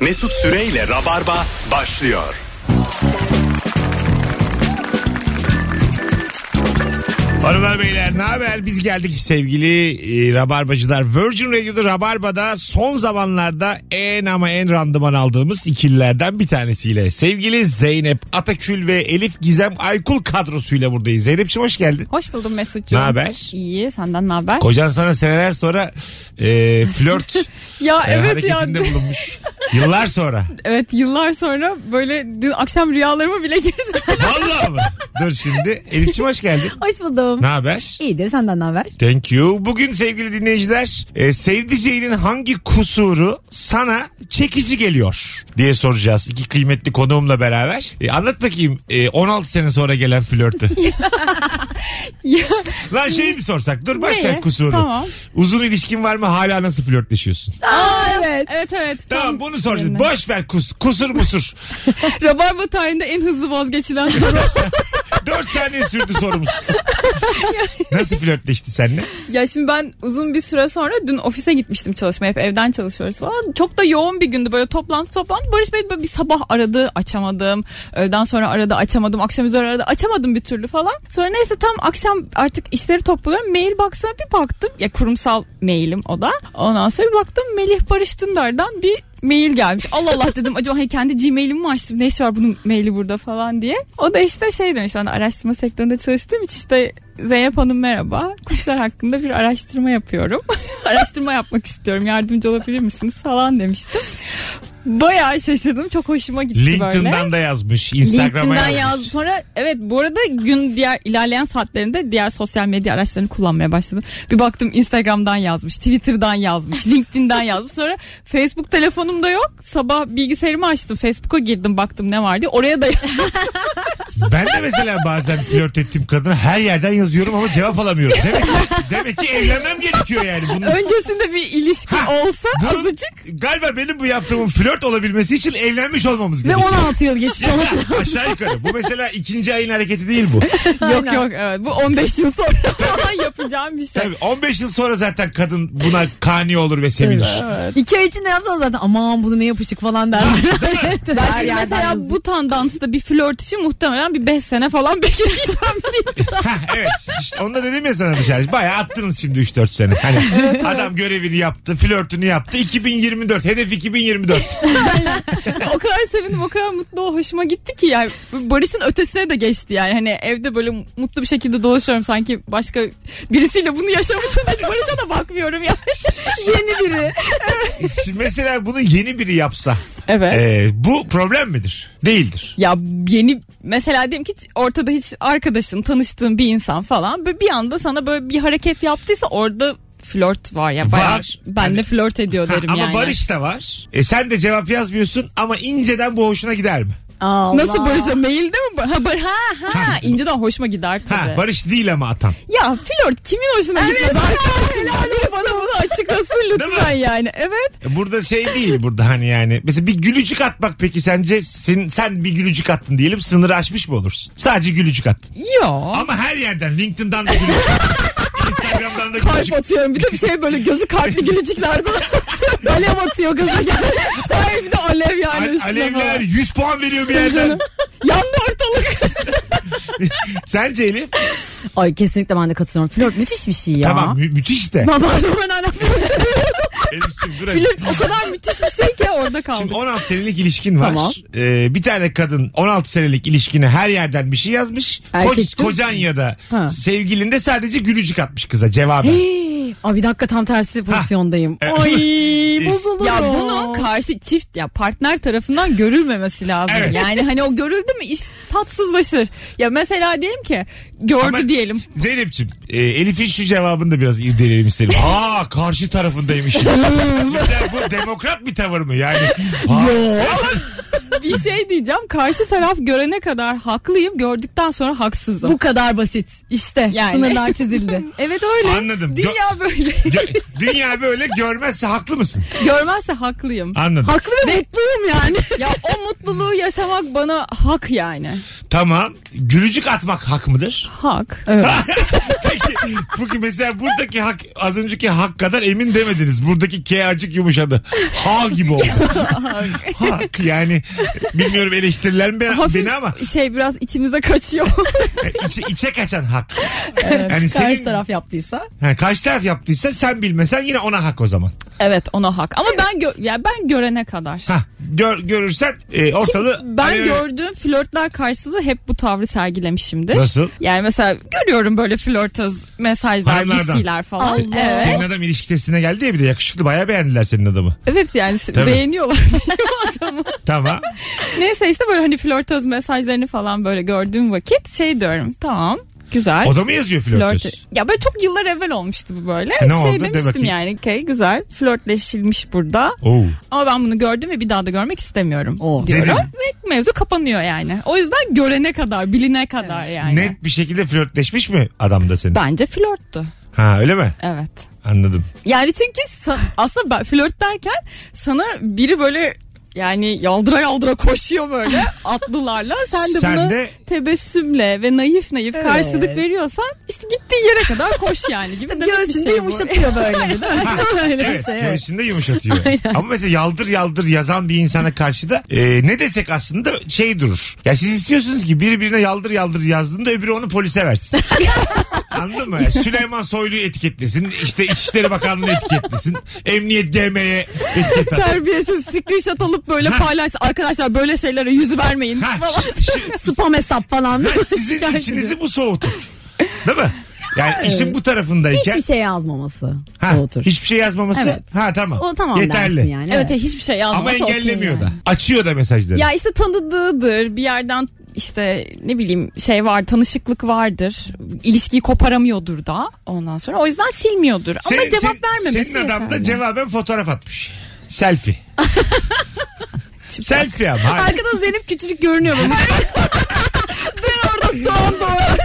Mesut Süreyle Rabarba başlıyor. Hanımlar beyler ne haber biz geldik sevgili e, Rabarbacılar. Virgin Radio'da Rabarba'da son zamanlarda en ama en randıman aldığımız ikililerden bir tanesiyle. Sevgili Zeynep Atakül ve Elif Gizem Aykul kadrosuyla buradayız. Zeynep'ciğim hoş geldin. Hoş buldum Mesut'cuğum. Naber? İyi senden ne haber? Kocan sana seneler sonra e, flört e, ya evet ya. hareketinde bulunmuş. Yıllar sonra. evet yıllar sonra böyle dün akşam rüyalarıma bile girdi. Vallahi mı? Dur şimdi. Elif'ciğim hoş geldin. Hoş buldum. Ne haber? İyidir senden ne haber? Thank you. Bugün sevgili dinleyiciler e, sevdiceğinin hangi kusuru sana çekici geliyor diye soracağız. İki kıymetli konuğumla beraber. E, anlat bakayım e, 16 sene sonra gelen flörtü. Ya, Lan şeyi mi sorsak? Dur boş ver Neyi? kusuru. Tamam. Uzun ilişkin var mı? Hala nasıl flörtleşiyorsun? Aa evet. evet evet. Tamam, tam bunu soracağız. yerine. Boş ver kus, kusur musur. Rabarba tarihinde en hızlı vazgeçilen soru. 4 saniye sürdü sorumuz. nasıl flörtleşti seninle? ya şimdi ben uzun bir süre sonra dün ofise gitmiştim çalışmaya. Hep evden çalışıyoruz falan. Çok da yoğun bir gündü böyle toplantı toplantı. Barış Bey böyle bir sabah aradı açamadım. Öğleden sonra aradı açamadım. Akşam üzeri aradı açamadım bir türlü falan. Sonra neyse tam akşam artık işleri topluyorum. Mail baksana bir baktım. Ya kurumsal mailim o da. Ondan sonra bir baktım Melih Barış Dündar'dan bir mail gelmiş. Allah Allah dedim acaba hani kendi Gmail'imi mi açtım ne iş var bunun maili burada falan diye. O da işte şey demiş ben de araştırma sektöründe çalıştığım için işte Zeynep Hanım merhaba. Kuşlar hakkında bir araştırma yapıyorum. araştırma yapmak istiyorum yardımcı olabilir misiniz falan demiştim. Bayağı şaşırdım çok hoşuma gitti böyle. LinkedIn'dan da yazmış. Instagram'a LinkedIn'den yazmış. yazdı. Sonra evet bu arada gün diğer ilerleyen saatlerinde diğer sosyal medya araçlarını kullanmaya başladım. Bir baktım Instagram'dan yazmış, Twitter'dan yazmış, LinkedIn'den yazmış. Sonra Facebook telefonumda yok. Sabah bilgisayarımı açtım. Facebook'a girdim baktım ne var diye. Oraya da Ben de mesela bazen flört ettiğim kadına her yerden yazıyorum ama cevap alamıyorum. Demek ki, demek ki evlenmem gerekiyor yani. Bunun, öncesinde bir ilişki olsa bunun- azıcık. galiba benim bu yaptığımın flört olabilmesi için evlenmiş olmamız Ve gerekiyor. 16 yıl geçmiş olması. Aşağı yukarı. Bu mesela ikinci ayın hareketi değil bu. Yok yok evet. Bu 15 yıl sonra falan yapacağım bir şey. Tabii 15 yıl sonra zaten kadın buna kani olur ve sevinir. İki ay içinde yapsan zaten aman bunu ne yapışık falan der. Evet, her Şimdi yerden mesela yazıyor. bu tandansta bir flört için muhtemelen bir 5 sene falan bekleyeceğim. Ha, evet. İşte onu da dedim ya sana dışarı. Bayağı attınız şimdi 3-4 sene. Hani adam görevini yaptı, flörtünü yaptı. 2024. Hedef 2024. o kadar sevindim o kadar mutlu o hoşuma gitti ki yani Barış'ın ötesine de geçti yani hani evde böyle mutlu bir şekilde dolaşıyorum sanki başka birisiyle bunu yaşamışım hiç Barış'a da bakmıyorum yani yeni biri Şimdi mesela bunu yeni biri yapsa evet e, bu problem midir? Değildir. ya yeni mesela diyelim ki ortada hiç arkadaşın tanıştığın bir insan falan böyle bir anda sana böyle bir hareket yaptıysa orada flört var ya bayağı Var. ben de flört ediyor Ha, derim ama yani. Barış da var. E sen de cevap yazmıyorsun ama inceden bu hoşuna gider mi? Allah. Nasıl Barış'a mailde mi? Bar- Ha, bar- ha, ha. inceden hoşuma gider Ha, tabii. Barış değil ama atan. Ya flört kimin hoşuna gitmez arkadaşım? ya? Biri bana bunu açıklasın lütfen yani. Evet. E, Burada şey değil burada hani yani. Mesela bir gülücük atmak peki sence sen, sen bir gülücük attın diyelim sınırı aşmış mı olursun? Sadece gülücük attın. Yo. Ama her yerden LinkedIn'dan da gülücük. Instagram'dan da Kalp gülücük. atıyorum. Bir de bir şey böyle gözü kalpli gülücüklerden atıyorum. Alev atıyor gaza gelmiş. Hayır bir de alev yani A- üstüne Alevler falan. 100 puan veriyor bir yerden. Canım. Yandı ortalık. Sence Elif? Ay kesinlikle ben de katılıyorum. Flört müthiş bir şey ya. Tamam mü- müthiş de. Baba ben hala flört. Elif'ciğim dur. Flört o kadar müthiş bir şey ki orada Şimdi kaldık. 16 senelik ilişkin var. Tamam. Ee, bir tane kadın 16 senelik ilişkine her yerden bir şey yazmış. Erkek Koç, değil kocan ya da Ha. sevgilin de sadece gülücük atmış kıza cevaben. Hii. Ay bir dakika tam tersi pozisyondayım. Ay bozulurum. Ya bunun karşı çift ya partner tarafından görülmemesi lazım. Evet. Yani hani o görüldü mü iş tatsızlaşır. Ya mesela diyelim ki gördü Ama- diyelim. Zeynep'ciğim e, Elif'in şu cevabını da biraz irdeleyelim isterim. Aa karşı tarafındaymış. Mesela bu demokrat bir tavır mı yani? Aa, bir şey diyeceğim. Karşı taraf görene kadar haklıyım. Gördükten sonra haksızım. bu kadar basit. İşte Yani. sınırlar çizildi. evet öyle. Anladım. Dünya böyle. gö- dünya böyle görmezse haklı mısın? Görmezse haklıyım. Anladım. Haklı ve mutluyum yani. ya o mutluluğu yaşamak bana hak yani. Tamam. Gülücük atmak hak mıdır? Hak. Evet. Peki, Çünkü mesela buradaki hak az önceki hak kadar emin demediniz. Buradaki K acık yumuşadı. Ha gibi oldu. hak yani bilmiyorum eleştiriler mi beni, Hafif beni ama şey biraz içimize kaçıyor. içe, içe kaçan hak. Yani evet. Karşı senin- taraf yaptıysa. Ha, karşı taraf yaptıysa sen bilmesen yine ona hak o zaman. evet ona hak. Ama ben gö- ya ben görene kadar. Ha, gör, görürsen e, ortalığı... Ben Hani- gördüğüm flörtler karşısında hep bu tavrı sergilemişimdir. Nasıl? Yani mesela görüyorum böyle flörtöz mesajlar Hanımlardan. bir şeyler falan. Allah. Evet. Senin adam ilişki testine geldi ya bir de yakışıklı bayağı beğendiler senin adamı. evet yani se- Tabii. beğeniyorlar benim adamı. Tamam. Neyse işte böyle hani flörtöz mesajlarını falan böyle gördüğüm vakit şey diyorum tamam güzel. O da mı yazıyor flörtöz? Flört. Ya böyle çok yıllar evvel olmuştu bu böyle. E, ne şey oldu? De demiştim bakayım. yani okey güzel flörtleşilmiş burada. Oo. Ama ben bunu gördüm ve bir daha da görmek istemiyorum Oo. diyorum. Dedin. Ve mevzu kapanıyor yani. O yüzden görene kadar biline kadar yani. Net bir şekilde flörtleşmiş mi adam da senin? Bence flörttü. Ha öyle mi? Evet. Anladım. Yani çünkü sa- aslında ben flört derken sana biri böyle yani yaldıra yaldıra koşuyor böyle atlılarla. Sen de Sen buna de- tebessümle ve naif naif Evet. karşılık veriyorsan işte gittiği yere kadar koş yani gibi de bir Göğsünde şey bu. yumuşatıyor böyle bir değil mi? Öyle bir Evet, şey. evet. göğsünde yumuşatıyor. Ama mesela yaldır yaldır yazan bir insana karşı da e, ne desek aslında şey durur. Ya siz istiyorsunuz ki biri birine yaldır yaldır yazdığında öbürü onu polise versin. Anladın mı? Yani Süleyman Soylu'yu etiketlesin. işte İçişleri Bakanlığı'nı etiketlesin. Emniyet GM'ye etiket atsın. Terbiyesiz screenshot alıp böyle paylaş. Arkadaşlar böyle şeylere yüz vermeyin. Ha, falan. şi- şi- Spam hesap falan. ha, sizin Şikayet ediyor. içinizi bu soğutur. Değil mi? Yani işin bu tarafındayken Hiçbir şey yazmaması ha, soğutur. hiçbir şey yazmaması Evet. ha tamam. O tamam Yeterli. dersin yani. Evet, hiçbir şey yazmasa Ama okey engellemiyor yani. da. Açıyor da mesajları. Ya işte tanıdığıdır bir yerden işte ne bileyim şey var tanışıklık vardır ilişkiyi koparamıyordur da ondan sonra o yüzden silmiyordur ama Senin- cevap senin- vermemesi Senin adam da yeterli. cevaben fotoğraf atmış. Selfie. Selfie ama. hayır. Arkada Zeynep küçücük görünüyor bana. ben orada soğan doğru.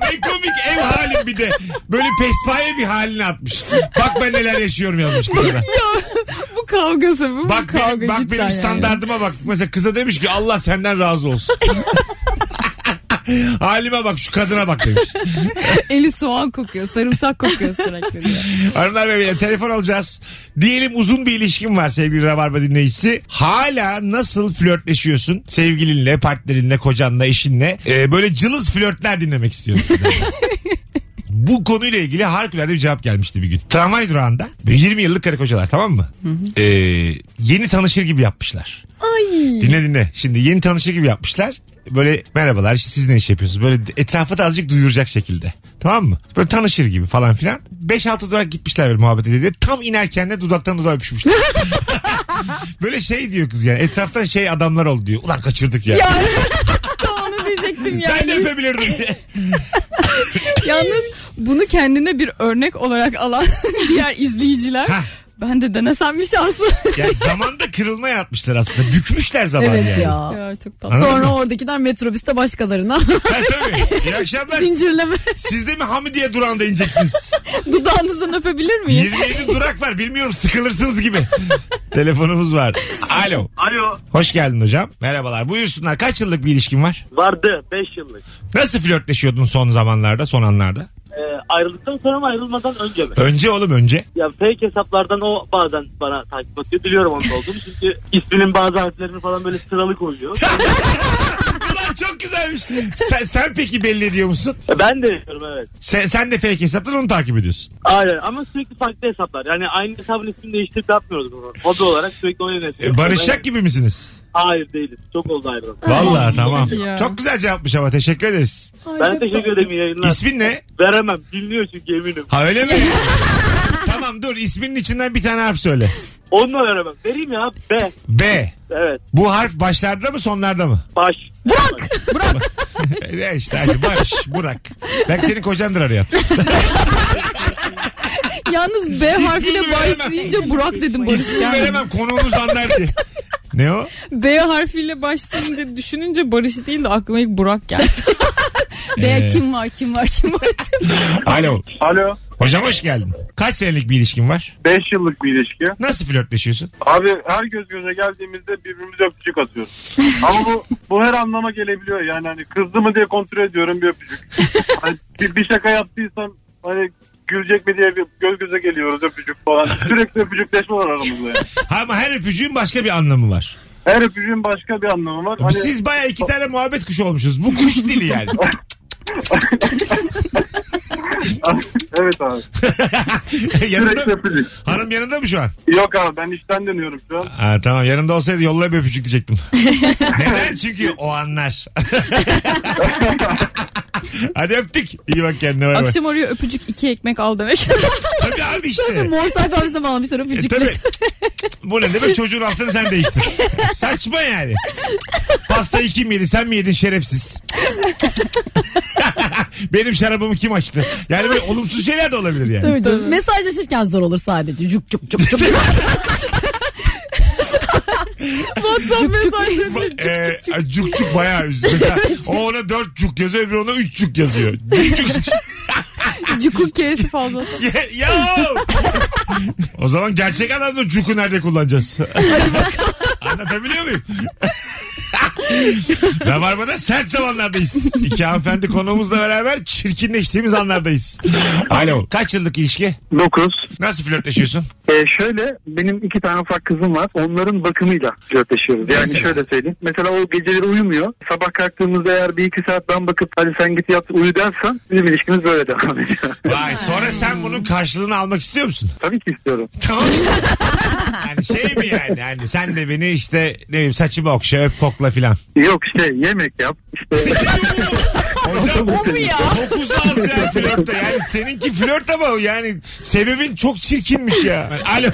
Ne komik ev halim bir de. Böyle pespaye bir halini atmış. Bak ben neler yaşıyorum yazmış kızına. bu kavgası bu, Bak, bu kavga benim, bak cidden benim yani. standardıma bak. Mesela kıza demiş ki Allah senden razı olsun. Halime bak şu kadına bak demiş. Eli soğan kokuyor sarımsak kokuyor sürekli. diyor. Hanımlar ve beyler telefon alacağız. Diyelim uzun bir ilişkin var sevgili Rabarba dinleyicisi. Hala nasıl flörtleşiyorsun sevgilinle, partnerinle, kocanla, eşinle? Ee, böyle cılız flörtler dinlemek istiyorum sizden. Bu konuyla ilgili harikulade bir cevap gelmişti bir gün. Tramvay durağında 20 yıllık karı kocalar tamam mı? Ee, yeni tanışır gibi yapmışlar. Dinle dinle. Şimdi yeni tanışır gibi yapmışlar. Böyle merhabalar işte siz ne iş yapıyorsunuz? Böyle etrafı da azıcık duyuracak şekilde. Tamam mı? Böyle tanışır gibi falan filan. 5-6 durak gitmişler böyle muhabbet ediyor. Tam inerken de dudaktan dudağa öpüşmüşler. böyle şey diyor kız yani. Etraftan şey adamlar oldu diyor. Ulan kaçırdık ya. yani tam onu diyecektim yani. Ben de öpebilirdim diye. Yalnız bunu kendine bir örnek olarak alan diğer izleyiciler Hah. ben de denesem bir şansım. Yani zamanda kırılma yapmışlar aslında. Bükmüşler zamanı Evet yani. ya. ya, çok tatlı. Anladın Sonra mı? oradakiler metrobüste başkalarına Ha, tabii. İyi akşamlar. zincirleme. Siz de mi Hamidiye durağında ineceksiniz? Dudağınızdan öpebilir miyim? 27 durak var. Bilmiyorum sıkılırsınız gibi. Telefonumuz var. Alo. Alo Hoş geldin hocam. Merhabalar. Buyursunlar. Kaç yıllık bir ilişkin var? vardı 5 yıllık. Nasıl flörtleşiyordun son zamanlarda, son anlarda? Ee, ayrıldıktan sonra mı ayrılmadan önce mi? Önce oğlum önce. Ya fake hesaplardan o bazen bana takip atıyor. Biliyorum onun olduğunu çünkü isminin bazı harflerini falan böyle sıralı koyuyor. Ulan çok güzelmiş. Sen, sen peki belli ediyor musun? E, ben de yapıyorum evet. Sen, sen de fake hesaptan onu takip ediyorsun. Aynen ama sürekli farklı hesaplar. Yani aynı hesabın ismini değiştirip yapmıyoruz bunu. Hobi olarak sürekli onu yönetiyoruz. E, barışacak gibi misiniz? Hayır değiliz. Çok oldu ayrılalım. Vallahi tamam. Ya. Çok güzel cevapmış ama teşekkür ederiz. Ben teşekkür ederim iyi yayınlar. İsmin ne? Veremem. Dinliyor çünkü eminim. Ha öyle mi? tamam dur isminin içinden bir tane harf söyle. Onu da veremem. Vereyim ya. B. B. Evet. Bu harf başlarda mı sonlarda mı? Baş. Bırak! E, işte hadi Barış, Burak. Belki senin kocandır arayan. Yalnız B harfiyle İsmini şey veremem. şey başlayınca Burak dedim Barış. İsmini gelmedi. veremem konuğumuz anlar diye. Ne o? B harfiyle başlayınca düşününce Barış değil de aklıma ilk Burak geldi. B Ee. kim var kim var kim var. Alo. Alo. Hocam hoş geldin. Kaç senelik bir ilişkin var? 5 yıllık bir ilişki. Nasıl flörtleşiyorsun? Abi her göz göze geldiğimizde birbirimize öpücük atıyoruz. Ama bu, bu her anlama gelebiliyor. Yani hani kızdı mı diye kontrol ediyorum bir öpücük. Hani bir, bir şaka yaptıysam hani gülecek mi diye bir göz göze geliyoruz öpücük falan. Sürekli öpücükleşme var aramızda yani. Ama her öpücüğün başka bir anlamı var. Her öpücüğün başka bir anlamı var. Hani Siz baya iki tane muhabbet kuşu olmuşuz. Bu kuş dili yani. evet abi. Sürekli yanında, öpücük. hanım yanında mı şu an? Yok abi ben işten dönüyorum şu an. Aa, tamam yanımda olsaydı yolla bir öpücük diyecektim. Neden? Çünkü o anlar. Hadi öptük. İyi bak kendine. Bay bay. Akşam oraya öpücük iki ekmek al demek. Tabii abi işte. Mor sayfamızda mı almışlar E, öpücükle? tabii. Bu ne demek çocuğun altını sen değiştir. Saçma yani. Pastayı kim yedi sen mi yedin şerefsiz. Benim şarabımı kim açtı? Yani böyle olumsuz şeyler de olabilir yani. Tabii canım. Mesajlaşırken zor olur sadece. Cuk cuk cuk cuk. WhatsApp mesajları. Ee, cuk cuk bayağı üzdü. Mesela o ona dört cuk yazıyor öbürü ona üç cuk yazıyor. Cuk cuk. Cukuk kesi fazla. ya, ya. o zaman gerçek anlamda cuku nerede kullanacağız? Anlatabiliyor muyum? Rabarba'da sert zamanlardayız. İki hanımefendi konuğumuzla beraber çirkinleştiğimiz anlardayız. Alo. Kaç yıllık ilişki? 9. Nasıl flörtleşiyorsun? Ee, şöyle benim iki tane ufak kızım var. Onların bakımıyla flörtleşiyoruz. Yani Mesela? şöyle söyleyeyim. Mesela o geceleri uyumuyor. Sabah kalktığımızda eğer bir iki saat ben bakıp hadi sen git yat uyu dersen bizim ilişkimiz böyle devam ediyor. Vay sonra sen bunun karşılığını almak istiyor musun? Tabii ki istiyorum. Tamam işte. Yani şey mi yani? Hani sen de beni işte ne bileyim saçımı okşa öp kokla filan. Yok işte yemek yap. İşte Hocam O mu ya? Dokuz az ya flörtte. Yani seninki flört ama yani sebebin çok çirkinmiş ya. Alo.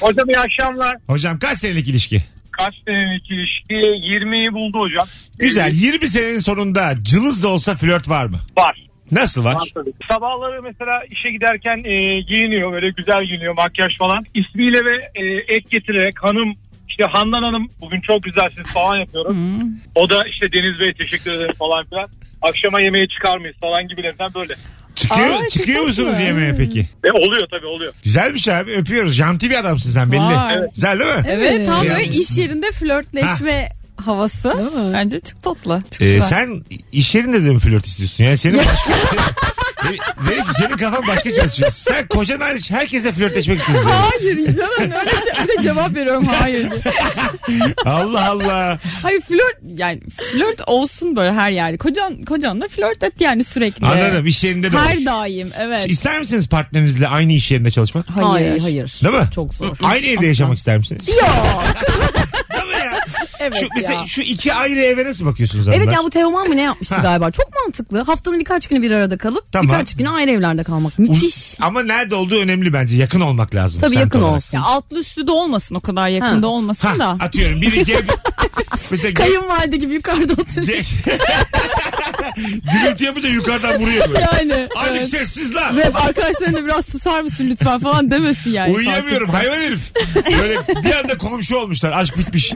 Hocam iyi akşamlar. Hocam kaç senelik ilişki? Kaç senelik ilişki? 20'yi buldu hocam. Güzel. 20 senenin sonunda cılız da olsa flört var mı? Var. Nasıl var? Sabahları mesela işe giderken e, giyiniyor böyle güzel giyiniyor makyaj falan. İsmiyle ve e, ek getirerek hanım işte Handan Hanım bugün çok güzelsiniz falan yapıyorum. O da işte Deniz Bey teşekkür ederim falan filan. Akşama yemeğe çıkar mıyız falan gibilerinden böyle. Çıkıyor, Aa, çıkıyor çok musunuz tatlı. yemeğe peki? Ve oluyor tabii oluyor. Güzelmiş abi öpüyoruz. Janti bir adamsın sen belli. Vay. Evet. Güzel değil mi? Ee, Evet tam böyle Yalnız. iş yerinde flörtleşme havası. Değil mi? Bence çok tatlı. Çok Ee, güzel. sen iş yerinde de mi flört istiyorsun? Yani senin başka... Zeynep senin kafan başka çalışıyor. Sen kocan hariç herkesle flörtleşmek istiyorsun. Hayır canım öyle şey. Bir de cevap veriyorum hayır diye. Allah Allah. Hayır flört yani flört olsun böyle her yerde. Kocan kocanla flört et yani sürekli. Anladım iş yerinde de olur. Her daim evet. İster misiniz partnerinizle aynı iş yerinde çalışmak? Hayır. Hayır. Ee, Hayır. Değil mi? Çok zor. Aynı evde yaşamak ister misiniz? Yok. Değil mi ya? Evet Şu, mesela ya. şu iki ayrı eve nasıl bakıyorsunuz hanımlar? Evet ya bu Teoman mı ne yapmıştı Ha. galiba? Çok mantıklı. Haftanın birkaç günü bir arada kalıp Tamam. birkaç günü ayrı evlerde kalmak. Uz- Müthiş. Ama nerede olduğu önemli bence. Yakın olmak lazım. Tabii semt yakın olarak. olsun. Ya altlı üstlü de olmasın o kadar yakında Ha. olmasın Ha, da. atıyorum biri gev... mesela ge- Kayınvalide gibi yukarıda oturuyor. ge- gürültü yapınca yukarıdan vuruyor böyle. Yani. Azıcık evet. sessiz lan. Ve arkadaşlarına biraz susar mısın lütfen falan demesin yani. Uyuyamıyorum hayvan herif. Böyle bir anda komşu olmuşlar. Aşk bitmiş.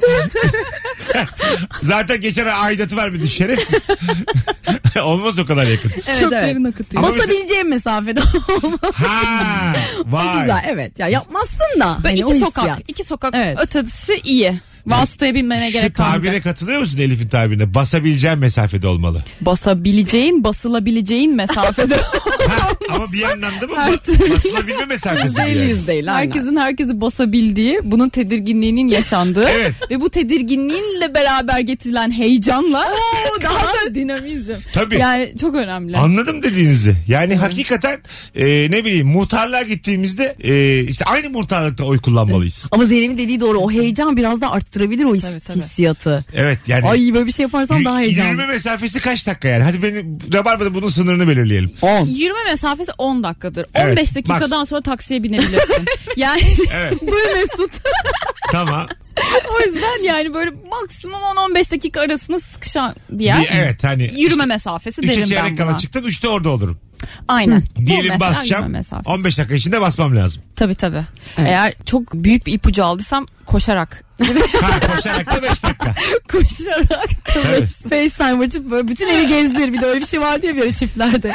Zaten geçen ay aidatı vermedi şerefsiz. Olmaz o kadar yakın. Çok Evet, evet. derin akıtıyor. Ama Basabileceğim mesafede olmak Ha, vay. güzel. Evet ya yapmazsın da. Böyle Hani o iki sokak, hissiyat. iki sokak Evet. ötesi iyi. Vasıtaya binmene Şu gerek tabire kalmayacak. katılıyor musun Elif'in tabirine? Basabileceğin mesafede olmalı. Basabileceğin, basılabileceğin mesafede. Ha, ama bir yandan da mı? Her Ba- Basılabilme mesafesi. Yüzde elli, yani. yüzde elli, aynen. Herkesin herkesi basabildiği, bunun tedirginliğinin yaşandığı Evet. ve bu tedirginliğinle beraber getirilen heyecanla daha da dinamizm. Tabii. Yani çok önemli. Anladım dediğinizi. Yani hakikaten e, ne bileyim muhtarlığa gittiğimizde e, işte aynı muhtarlıkta oy kullanmalıyız. Ama Zeynep'in dediği doğru. O heyecan biraz da arttırabilir o his- Tabii, tabii. hissiyatı. Evet yani. Ay böyle bir şey yaparsan daha y- heyecanlı. Yürüme mesafesi kaç dakika yani? Hadi beni Rabarba'da bunun sınırını belirleyelim. 10. Yürüme mesafesi 10 dakikadır. Evet, 15 dakikadan sonra taksiye binebilirsin. yani Evet Duy Mesut. tamam. o yüzden yani böyle maksimum 10-15 dakika arasında sıkışan bir yer. Bir- evet hani. Yürüme mesafesi işte, derim Üçe ben çeyrek buna. kala çıktım. Üçte orada olurum. Aynen. Bu Diyelim mesela yürüme basacağım. mesafesi. 15 dakika içinde basmam lazım. Tabii tabii. Evet. Eğer çok büyük bir ipucu aldıysam koşarak Ha, koşarak da 5 dakika. Koşarak. Tabii. FaceTime açıp böyle bütün evi gezdir. Bir de öyle bir şey vardı ya bir ara çiftlerde.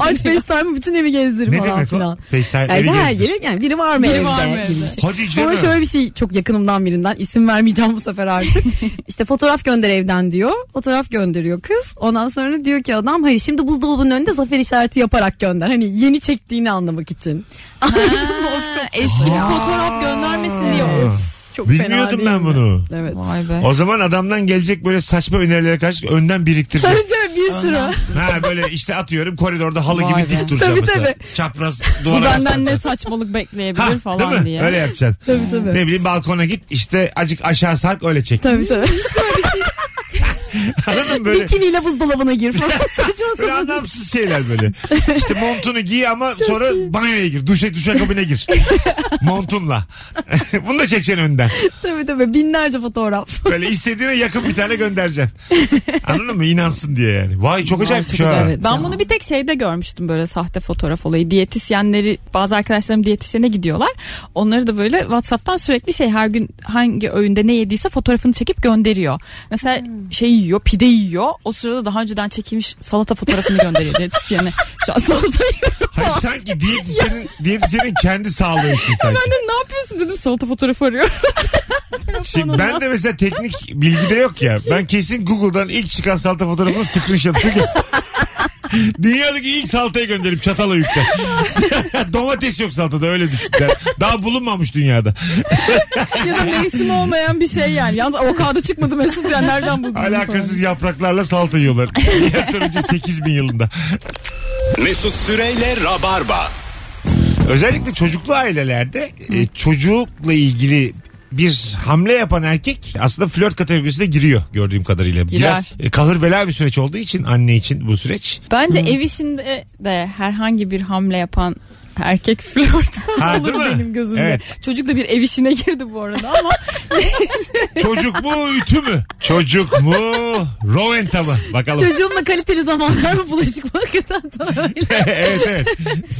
Aç FaceTime'ı bütün evi gezdir Ne falan demek o? filan. FaceTime Yani işte evi her gezdir. gelin yani biri var mı Biri evde var mı evde? gibi bir şey. Hadi Sonra canım. şöyle bir şey çok yakınımdan birinden isim vermeyeceğim bu sefer artık. işte fotoğraf gönder evden diyor. Fotoğraf gönderiyor kız. Ondan sonra diyor ki adam hayır şimdi buzdolabının önünde zafer işareti yaparak gönder. Hani yeni çektiğini anlamak için. Anladın mı? Of çok Eski bir fotoğraf göndermesin diye. Aa. çok fena Bilmiyordum değil ben mi? bunu. Evet. Vay be. O zaman adamdan gelecek böyle saçma önerilere karşı önden biriktireceğim. Tabii tabii bir sürü. ha böyle işte atıyorum koridorda halı Vay gibi be. dik duracağım Tabii, mesela. Çapraz duvara Bu benden yaslanacağım. ne saçmalık bekleyebilir Ha, falan değil mi? diye. Öyle yapacaksın. Tabii tabii. Ne bileyim balkona git işte acık aşağı sark öyle çek. Tabii tabii. Hiç böyle bir şey. Anladın mı böyle? Bikiniyle buzdolabına gir falan. Saçma Böyle sapan. anlamsız şeyler böyle. İşte montunu giy ama sonra banyoya gir. Duşa duşa kabine gir. Montunla. Bunu da çekeceksin önden. Tabii tabii. Binlerce fotoğraf. Böyle istediğine yakın bir tane göndereceksin. Anladın mı? İnansın diye yani. Vay çok acayip bir şey. ha. Evet Ben ya. bunu bir tek şeyde görmüştüm böyle sahte fotoğraf olayı. Diyetisyenleri bazı arkadaşlarım diyetisyene gidiyorlar. Onları da böyle WhatsApp'tan sürekli şey her gün hangi öğünde ne yediyse fotoğrafını çekip gönderiyor. Mesela Hmm. şey yiyor, pide yiyor. O sırada daha önceden çekilmiş salata fotoğrafını gönderiyor diyetisyene. Şu an salata yiyorum. Hayır, Hani sanki diyetisyenin, diyetisyenin kendi sağlığı için sanki. Ben de ne yapıyorsun dedim salata fotoğrafı arıyoruz. Şimdi Şey, ben de mesela teknik bilgi de yok ya. Ben kesin Google'dan ilk çıkan salata fotoğrafını screenshot'ını gö- Dünyadaki ilk salatayı gönderip çatala yükle. Domates yok salatada öyle düşün. Yani Daha bulunmamış dünyada. ya da mevsimi olmayan bir şey yani. Yalnız avokado çıkmadı Mesut yani nereden buldun? bunu falan. Alakasız yapraklarla salata yiyorlar. Milattan önce 8000 yılında. Mesut Süreyle Rabarba. Özellikle çocuklu ailelerde e, çocukla ilgili bir hamle yapan erkek aslında flört kategorisine giriyor gördüğüm kadarıyla. Girer. Biraz e, kahır bela bir süreç olduğu için anne için bu süreç. Bence ev işinde de herhangi bir hamle yapan erkek flörtöz Ha, olur değil mi? benim gözümde. Evet. Çocuk da bir ev işine girdi bu arada ama Çocuk mu ütü mü? Çocuk mu? Roventa mı? Bakalım. Çocuğumla kaliteli zamanlar mı bulaşık hakikaten da öyle. evet evet.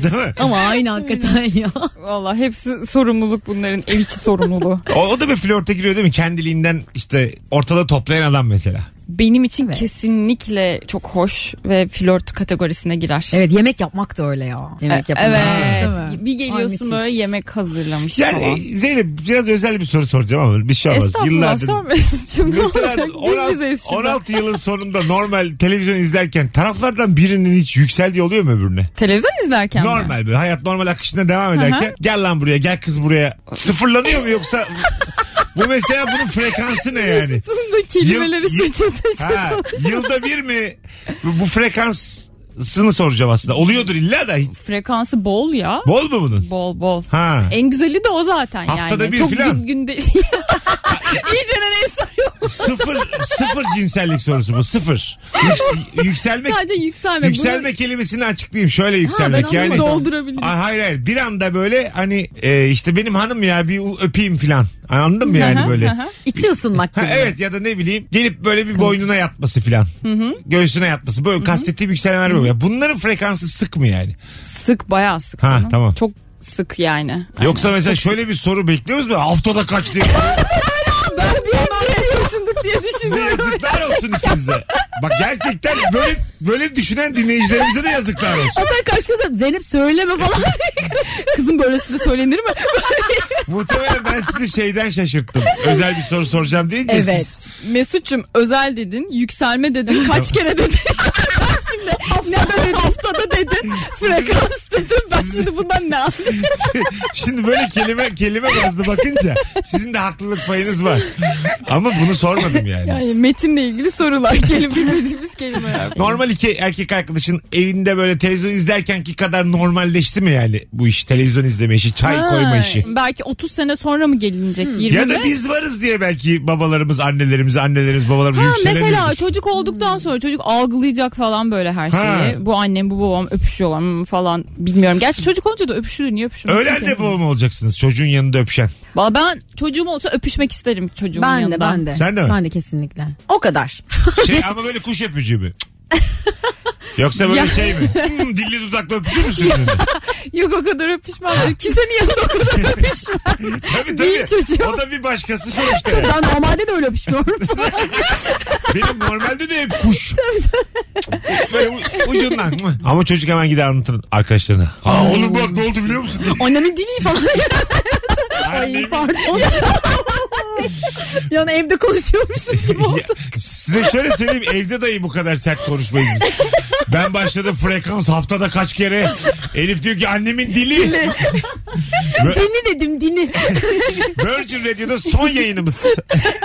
Değil mi? Ama aynı hakikaten ya. valla hepsi sorumluluk bunların ev içi sorumluluğu. O, o da bir flörte giriyor değil mi? Kendiliğinden işte ortalığı toplayan adam mesela. Benim için Evet. kesinlikle çok hoş ve flört kategorisine girer. Evet yemek yapmak da öyle ya. Yemek E- yapmak. Evet. Bir Ay, geliyorsun böyle müthiş. yemek hazırlamış Yani falan. e, Zeynep biraz özel bir soru soracağım ama bir şey olmaz. Estağfurullah Yıllardır sorma Mesut'cum ne Mesela olacak? Biz bizeyiz 16, şurada. 16 yılın sonunda normal televizyon izlerken taraflardan birinin hiç yükseldiği oluyor mu öbürüne? Televizyon izlerken mi? normal böyle hayat normal akışına devam ederken gel lan buraya gel kız buraya sıfırlanıyor mu yoksa bu mesela bunun frekansı ne yani? Mesut'un da kelimeleri Yıl- yıl- seçe seçe Ha, yılda bir mi bu bu frekansını soracağım aslında. Oluyordur illa da Frekansı bol ya. bol mu bunun? Bol bol. Ha. En güzeli de o zaten Haftada yani. bir Çok filan. gün, günde... İyice ne soruyor? sıfır sıfır cinsellik sorusu bu sıfır. Yüks- yükselmek Sadece yükselme. Yükselme kelimesini açıklayayım. Şöyle yükselmek ben yani. anladım. Doldurabilirim. Ay, hayır hayır. Bir anda böyle hani e, işte benim hanım ya bir u- öpeyim filan. Anladın mı yani böyle? hı hı. İçi ısınmak Ha, gibi. evet ya da ne bileyim gelip böyle bir boynuna yatması filan. Göğsüne yatması. Böyle kastettiğim yükselmeler böyle. Ya Bunların frekansı sık mı yani? Sık bayağı sık Ha, canım. tamam. Çok sık yani. Yoksa mesela şöyle bir soru bekliyoruz mu? Haftada kaç diye. ben bir an yaşındık diye Size yazıklar olsun ikinize. Bak gerçekten böyle böyle düşünen dinleyicilerimize de yazıklar olsun. Hatta kaç kızım Zeynep söyleme falan. Kızım böylesi de söylenir mi? Muhtemelen ben sizi şeyden şaşırttım. Özel bir soru soracağım deyince siz- evet. Mesut'cum özel dedin, yükselme dedin, kaç kere dedin. Ben şimdi ne böyle haftada dedin, frekans dedin. Ben şimdi bundan ne anlayayım? Şimdi böyle kelime kelime bazlı bakınca sizin de haklılık payınız var. Ama bunu sormadım yani. Yani metinle ilgili sorular gelin bilmediğimiz kelimeler. Normal iki erkek arkadaşın evinde böyle televizyon izlerken ki kadar normalleşti mi yani bu iş televizyon izleme işi çay koyma işi? Ha, Belki 30 sene sonra mı gelinecek? Hmm. 20 Ya da mi? biz varız diye belki babalarımız annelerimiz annelerimiz babalarımız Ha, yükselemiyor. mesela çocuk olduktan Hmm. sonra çocuk algılayacak falan böyle her şeyi. Ha. Bu annem bu babam öpüşüyorlar mı falan bilmiyorum. Gerçi çocuk olunca da öpüşülür niye öpüşülmesin Öyle ki? anne baba mı olacaksınız çocuğun yanında öpüşen? Valla ben çocuğum olsa öpüşmek isterim çocuğumun Ben de yanında. ben de. Sen de mi? Ben de kesinlikle. O kadar. Şey ama böyle kuş öpücüğü mü? Yoksa böyle Ya. şey mi? Hmm, dilli dudaklı öpüşür müsün? dedi. Yok o kadar öpüşmem. diyor. Kimsenin yanında o kadar öpüşmem. tabii Değil tabii. çocuğum. O da bir başkası şey sonuçta. yani. Ben normalde de öyle öpüşmüyorum. Benim normalde de hep kuş. Böyle u- ucundan. Ama çocuk hemen gider anlatır arkadaşlarına. Aa, oğlum bak ne oldu biliyor musun? Annemin dili falan. Annem- Ay pardon. yani evde konuşuyormuşuz gibi Ya, oldu. size şöyle söyleyeyim evde dahi bu kadar sert konuşmayız biz. Ben başladım frekans haftada kaç kere. Elif diyor ki annemin dili. dini dedim dini. Virgin Radio'da son yayınımız.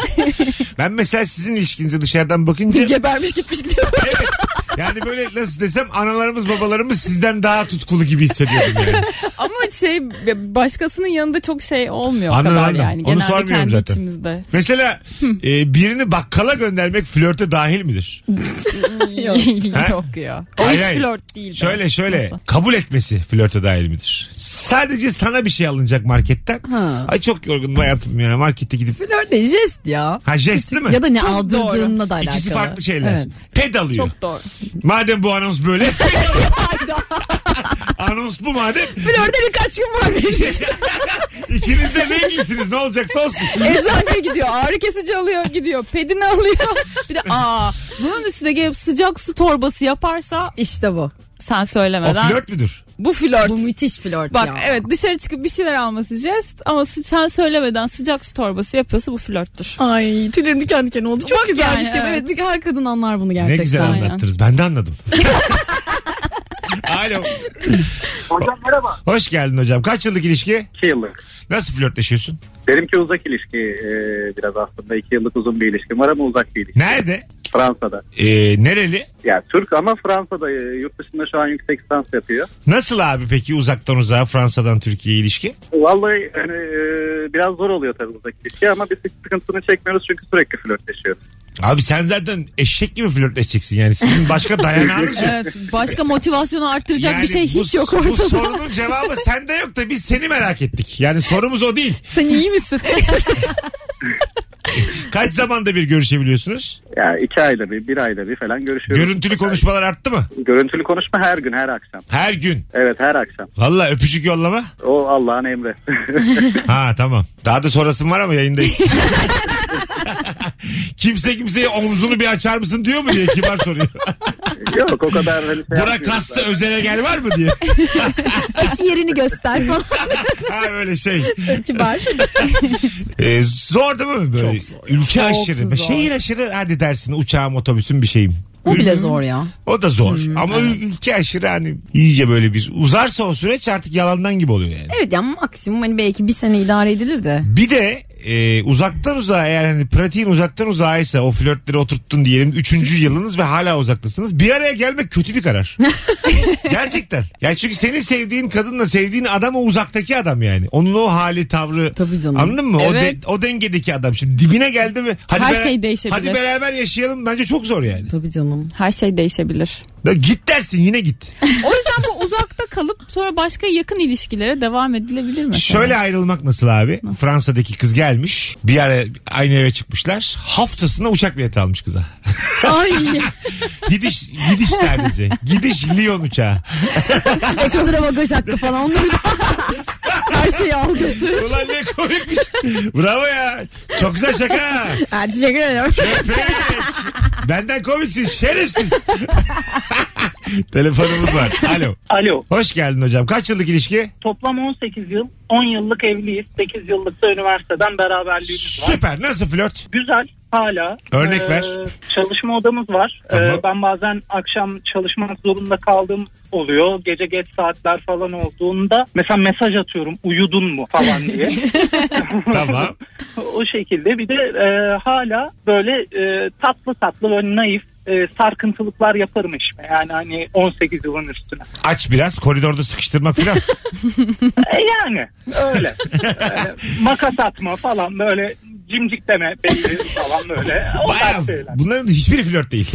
ben mesela sizin ilişkinize dışarıdan bakınca Gebermiş gitmiş gidiyor. Evet. Yani böyle nasıl desem analarımız babalarımız sizden daha tutkulu gibi hissediyorum yani. Ama şey başkasının yanında çok şey olmuyor o Anladım, kadar anladım. yani. Onu Genelde sormuyorum kendi zaten. içimizde. Mesela e, birini bakkala göndermek flörte dahil midir? Ha? Yok. Yok ya. O Hayır, hiç hayır. Şey flört değil. Şöyle şöyle Nasıl? kabul etmesi flörte dahil midir? Sadece sana bir şey alınacak marketten. Ay çok yorgunum hayatım ya markete gidip. Flört de jest ya. Ha jest değil mi? Ya da ne Çok aldırdığınla da alakalı. İkisi farklı şeyler. Evet. Ped alıyor. Çok doğru. Madem bu anons böyle. ped alıyor. anons bu madem. Flörde birkaç gün var benim. İkiniz de renklisiniz ne olacaksa olsun. Eczaneye gidiyor. Ağrı kesici alıyor gidiyor. Pedini alıyor. Bir de aa bunun üstüne gelip sıcak su torbası yaparsa İşte bu. sen O söylemeden. flört müdür? Bu flört. Bu müthiş flört Bak ya. evet dışarı çıkıp bir şeyler alması jest ama s- sen söylemeden sıcak su torbası yapıyorsa bu flörttür. Ay tüylerim diken diken oldu. Çok Bak güzel yani, bir şey. evet. Evet. bir her kadın anlar bunu gerçekten. Ne güzel aynen. anlattınız. Ben de anladım. Alo. Hocam merhaba. Hoş geldin hocam. Kaç yıllık ilişki? 2 yıllık. Nasıl flörtleşiyorsun? Benimki uzak ilişki e, biraz aslında. 2 yıllık uzun bir ilişkim var ama uzak bir ilişki. Nerede? Fransa'da. Ee, nereli? Yani Türk ama Fransa'da. e, Yurt dışında şu an yüksek lisans yapıyor. Nasıl abi peki uzaktan uzağa Fransa'dan Türkiye'ye ilişki? Vallahi hani, e, biraz zor oluyor tabii uzak ilişki ama biz hiç sıkıntısını çekmiyoruz çünkü sürekli flörtleşiyoruz. Abi sen zaten eşek gibi flörtleşeceksin yani. Sizin başka dayanağınız yok. Evet başka motivasyonu arttıracak Yani bir şey hiç bu, yok Bu ortada. sorunun cevabı sende yok da biz seni merak ettik. Yani sorumuz o değil. Sen iyi misin? Kaç zamanda bir görüşebiliyorsunuz? Yani iki ayda bir, bir ayda bir falan görüşüyoruz. Görüntülü konuşmalar arttı mı? Görüntülü konuşma her gün, her akşam. Her gün. Evet her akşam. Valla öpücük yollama. O Allah'ın emri. Ha tamam. Daha da sorasın var ama yayındayız. Kimse kimseye omzunu bir açar mısın diyor mu diye kibar soruyor. Yok o kadar hani şey Burak yapmıyoruz kastı da. özele gel var mı diye. Eşi yerini göster falan. Ha öyle şey. Kibar. Ee, zor değil mi böyle? Ülke aşırı. Şehir aşırı hadi dersin uçağım otobüsüm bir şeyim. Bu bile zor ya. O da zor. Hmm, Ama ül- ülke aşırı hani iyice böyle bir uzarsa o süreç artık yalandan gibi oluyor yani. Evet ya maksimum hani belki bir sene idare edilir de. Bir de e, uzaktan uzağa eğer hani pratiğin uzaktan uzağıysa o flörtleri oturttun diyelim. Üçüncü yılınız ve hala uzaktasınız. Bir araya gelmek kötü bir karar. Gerçekten. Yani çünkü senin sevdiğin kadınla sevdiğin adam o uzaktaki adam yani. Onun o hali tavrı. Tabii canım. Anladın mı? O, de, Evet. o dengedeki adam. Şimdi dibine geldi mi? Hadi Her bera- şey değişebilir. Hadi beraber yaşayalım. Bence çok zor yani. Tabii canım. Her şey değişebilir. Ya git dersin yine git. O yüzden bu uzakta kalıp sonra başka yakın ilişkilere devam edilebilir mi? Şöyle ayrılmak nasıl abi? Fransa'daki kız gelmiş. Bir ara aynı eve çıkmışlar. Haftasına uçak bileti almış kıza. Ay Gidiş gidiş sadece. Gidiş Lyon uçağı. ekstra bagaj hakkı falan onları da almış. Her şeyi al götür. Ulan ne komikmiş. Bravo ya. Çok güzel şaka. Ha, teşekkür ederim. Köpek. Benden komiksin şerefsiz. Telefonumuz var. Alo. Alo. Hoş geldin hocam. Kaç yıllık ilişki? Toplam 18 yıl, 10 yıllık evliyiz. 8 yıllık da üniversiteden beraberliğimiz var. Süper. Nasıl flört? Güzel hala. Örnek Ee, ver. Çalışma odamız var. Ee, Tamam. ben bazen akşam çalışmak zorunda kaldığım oluyor. Gece geç saatler falan olduğunda mesela mesaj atıyorum uyudun mu falan diye. Tamam. o şekilde bir de e, hala böyle e, tatlı tatlı böyle naif e, sarkıntılıklar yaparım eşime. Yani hani 18 yılın üstüne. Aç biraz koridorda sıkıştırmak falan. E, yani öyle. E, makas atma falan böyle cimcik deme belli falan böyle. O tarz Bayağı şeyler. bunların hiçbiri flört değil.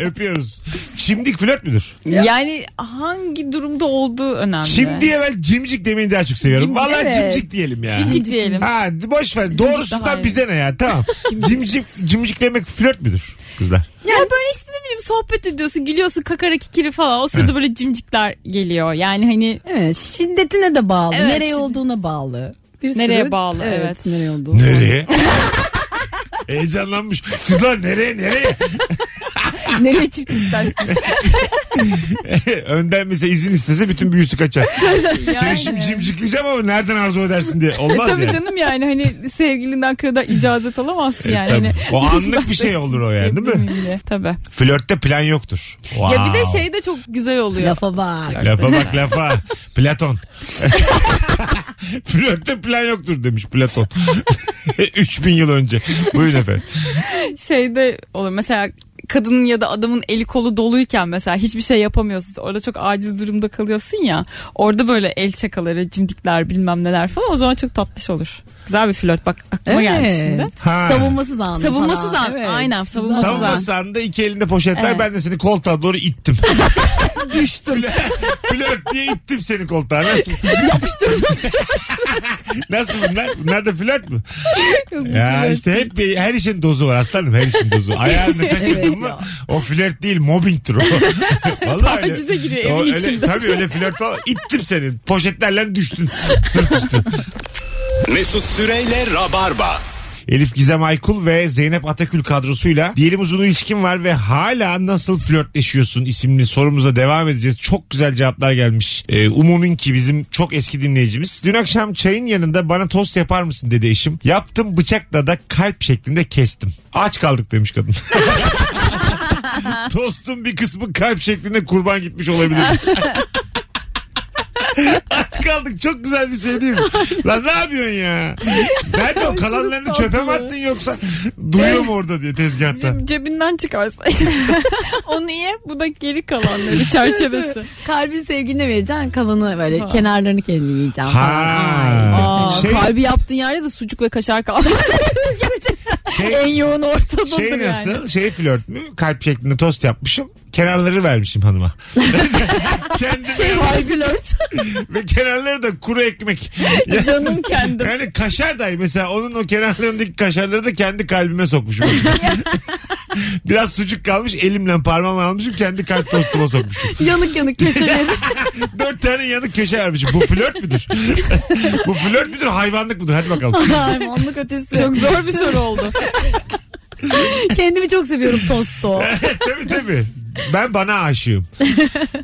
Öpüyoruz. Çimdik flört müdür? Yani hangi durumda olduğu önemli. Çimdiye ben cimcik demeyi daha çok seviyorum. Cimcik, Vallahi evet. cimcik diyelim ya. Cimcik diyelim. Ha boş ver. daha Doğrusundan iyi. bize ne ya? Tamam. Cimcik cimciklemek flört müdür kızlar? Ya böyle işte ne bileyim sohbet ediyorsun gülüyorsun kakara kikiri falan o sırada böyle cimcikler geliyor. Yani hani Evet, şiddetine de bağlı. Evet, nereye şiddet- olduğuna bağlı. Bir Nereye bağlı, evet. Nereye olduğu. Nereye? Heyecanlanmış. Kızlar nereye nereye? nereye çift istersin? Önden mesela izin istese bütün büyüsü kaçar. Seni şimdi cimcikleyeceğim ama nereden arzu edersin diye. Olmaz E, Tabii yani. E, canım yani hani sevgilinden kırda icazet alamazsın yani. tabii. Hani, O anlık bir şey olur o yani, değil mi? Cimcikleyebilirim Tabii. Flörtte plan yoktur. Ya bir de Wow. şey de çok güzel oluyor. Lafa bak. Lafa bak lafa. Platon. Flörtte plan yoktur demiş Platon. 3000 yıl önce. Buyurun efendim. şeyde olur mesela kadının ya da adamın eli kolu doluyken mesela hiçbir şey yapamıyorsunuz. Orada çok aciz durumda kalıyorsun ya. Orada böyle el şakaları, cimdikler bilmem neler falan o zaman çok tatlış olur. Güzel bir flört bak aklıma geldi Evet. şimdi. Ha. Savunmasız anı Savunmasız falan. an. Aynen, savunmasız an. Savunma sahanda iki elinde poşetler Evet. ben de seni koltuğa doğru ittim. Düştüm. flört diye ittim seni koltuğa. Nasıl? Yapıştırdım seni. Nasıl bunlar? Bunlar da flört mü? Yok, bu Ya flört. işte hep bir, her işin dozu var aslanım her işin dozu. Ayağını kaçırdın Evet mı ya. o flört değil mobbingtir o. Vallahi öyle. Tacize giriyor evin O öyle- içinde. Tabii öyle flört ol. İttim seni. Poşetlerle düştün. Sırt üstü. Mesut Süreyle Rabarba. Elif Gizem Aykul ve Zeynep Atakül kadrosuyla diyelim uzun ilişkin var ve hala nasıl flörtleşiyorsun isimli sorumuza devam edeceğiz. Çok güzel cevaplar gelmiş. Ee, umumin ki bizim çok eski dinleyicimiz. Dün akşam çayın yanında bana tost yapar mısın dedi eşim. Yaptım bıçakla da kalp şeklinde kestim. Aç kaldık demiş kadın. Tostun bir kısmı kalp şeklinde kurban gitmiş olabilir. Aç kaldık çok güzel bir şey değil mi? Lan ne yapıyorsun ya? Ben de o kalanlarını tatlı. çöpe mi attın yoksa duruyor mu orada diye tezgahta? Ceb- cebinden çıkarsa. Onu ye bu da geri kalanları çerçevesi. Kalbin sevgiline vereceksin kalanı böyle kenarlarını kendin yiyeceksin Ha. falan. Ay, çok Aa, güzel. Şey- Kalbi yaptığın yerde de sucuk ve kaşar kalmış. Şey, en yoğun ortadadır şey yani. nasıl? Şey flört mü? Kalp şeklinde tost yapmışım. Kenarları vermişim hanıma. Kendime Vay flört. ve kenarları da kuru ekmek. Canım kendim. Yani kaşar dahi mesela onun o kenarlarındaki kaşarları da kendi kalbime sokmuşum. Biraz sucuk kalmış elimle parmağımla almışım kendi kalp tostuma sokmuşum. yanık yanık köşeleri. Dört tane yanık köşe vermişim. Bu flört müdür? Bu flört müdür hayvanlık mıdır? Hadi bakalım. Hayvanlık ötesi. Çok zor bir soru oldu. Kendimi çok seviyorum tosto. tabii tabii. Ben bana aşığım.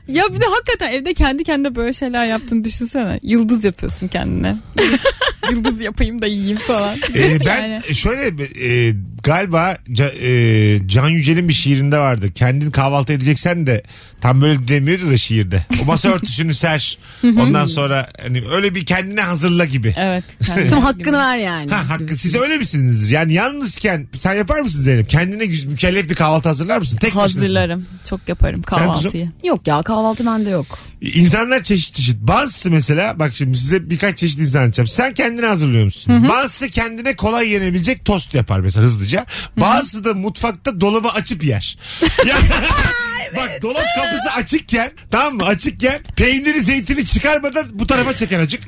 Ya bir de hakikaten evde kendi kendine böyle şeyler yaptığını düşünsene. Yıldız yapıyorsun kendine. Yıldız yapayım da yiyeyim falan. Ee, ben Yani. şöyle e, galiba Ca- e, Can Yücel'in bir şiirinde vardı. Kendin kahvaltı edeceksen de tam böyle demiyordu da şiirde. O masa örtüsünü ser. Ondan sonra hani öyle bir kendine hazırla gibi. Evet. Tüm hakkını ver yani. Ha hakkı siz öyle misiniz? Yani yalnızken sen yapar mısın Zeynep? Kendine güz- mükellef bir kahvaltı hazırlar mısın? Tek başınasın. Hazırlarım. Çok yaparım kahvaltıyı. Yok ya kahvaltı bende yok. İnsanlar çeşit çeşit. Bazısı mesela bak şimdi size birkaç çeşit insan anlatacağım. Sen kendini hazırlıyor musun? Bazısı kendine kolay yenebilecek tost yapar mesela hızlıca. Bazısı da mutfakta dolabı açıp yer. Ya- Bak dolap kapısı açıkken tamam mı açıkken peyniri zeytini çıkarmadan bu tarafa çeker açık.